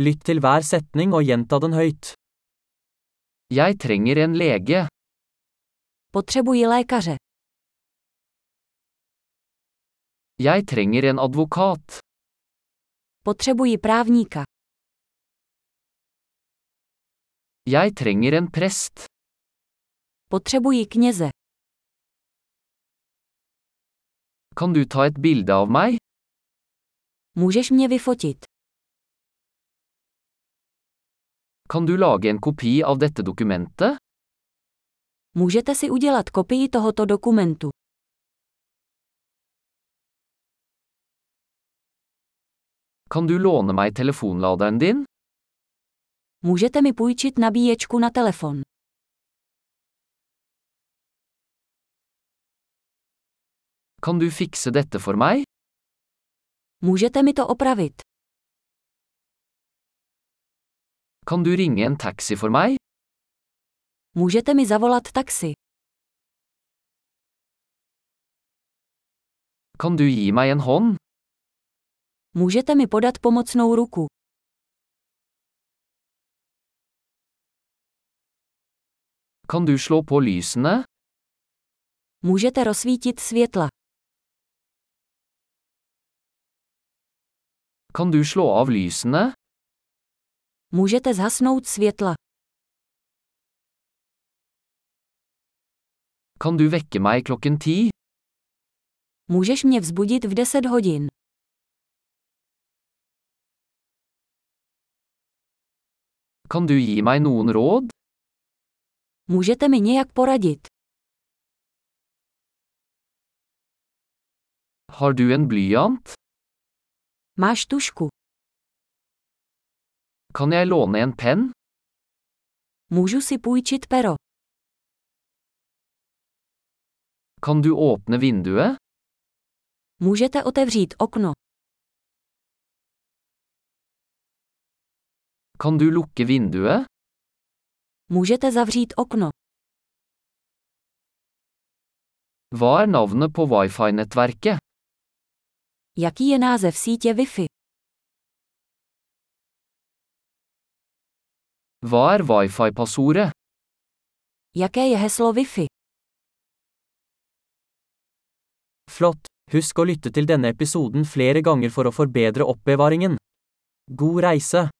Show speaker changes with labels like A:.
A: Lytt til hver setning og gjenta den høyt. Jeg trenger en lege.
B: Potřebuji lékaře.
A: Jeg trenger en advokat.
B: Potřebuji právníka.
A: Jeg trenger en prest.
B: Potřebuji kněze.
A: Kan du ta et bilde av meg?
B: Můžeš mě vyfotit.
A: Kan du lage en kopi av dette dokumentet?
B: Můžete si udělat kopii tohoto dokumentu.
A: Kan du låne meg telefonladeren din?
B: Můžete mi půjčit nabíječku na telefon.
A: Kan du fikse dette for meg?
B: Můžete mi to opravit.
A: Kan du ringe en taxi for meg?
B: Můžete mi zavolat taxi.
A: Kan du gi meg en hånd?
B: Můžete mi podat pomocnou ruku.
A: Kan du slå på lysene?
B: Můžete rozsvítit světla.
A: Kan du slå av lysene?
B: Můžete zhasnout světla.
A: Kan du vekke meg klokken ti?
B: Můžeš mě vzbudit v 10 hodin.
A: Kan du gi meg noen råd?
B: Můžete mi nějak poradit.
A: Har du en blyant?
B: Máš tušku.
A: Kan jeg låne en penn?
B: Můžu si půjčit pero.
A: Kan du åpne vinduet?
B: Můžete otevřít okno.
A: Kan du lukke vinduet?
B: Můžete zavřít okno.
A: Hva er navnet på wifi-nettverket?
B: Jaký je název sítě Wi-Fi?
A: Hva er wifi-passordet?
B: Jaké je heslo Wi-Fi?
A: Flott! Husk å lytte til denne episoden flere ganger for å forbedre oppbevaringen. God reise!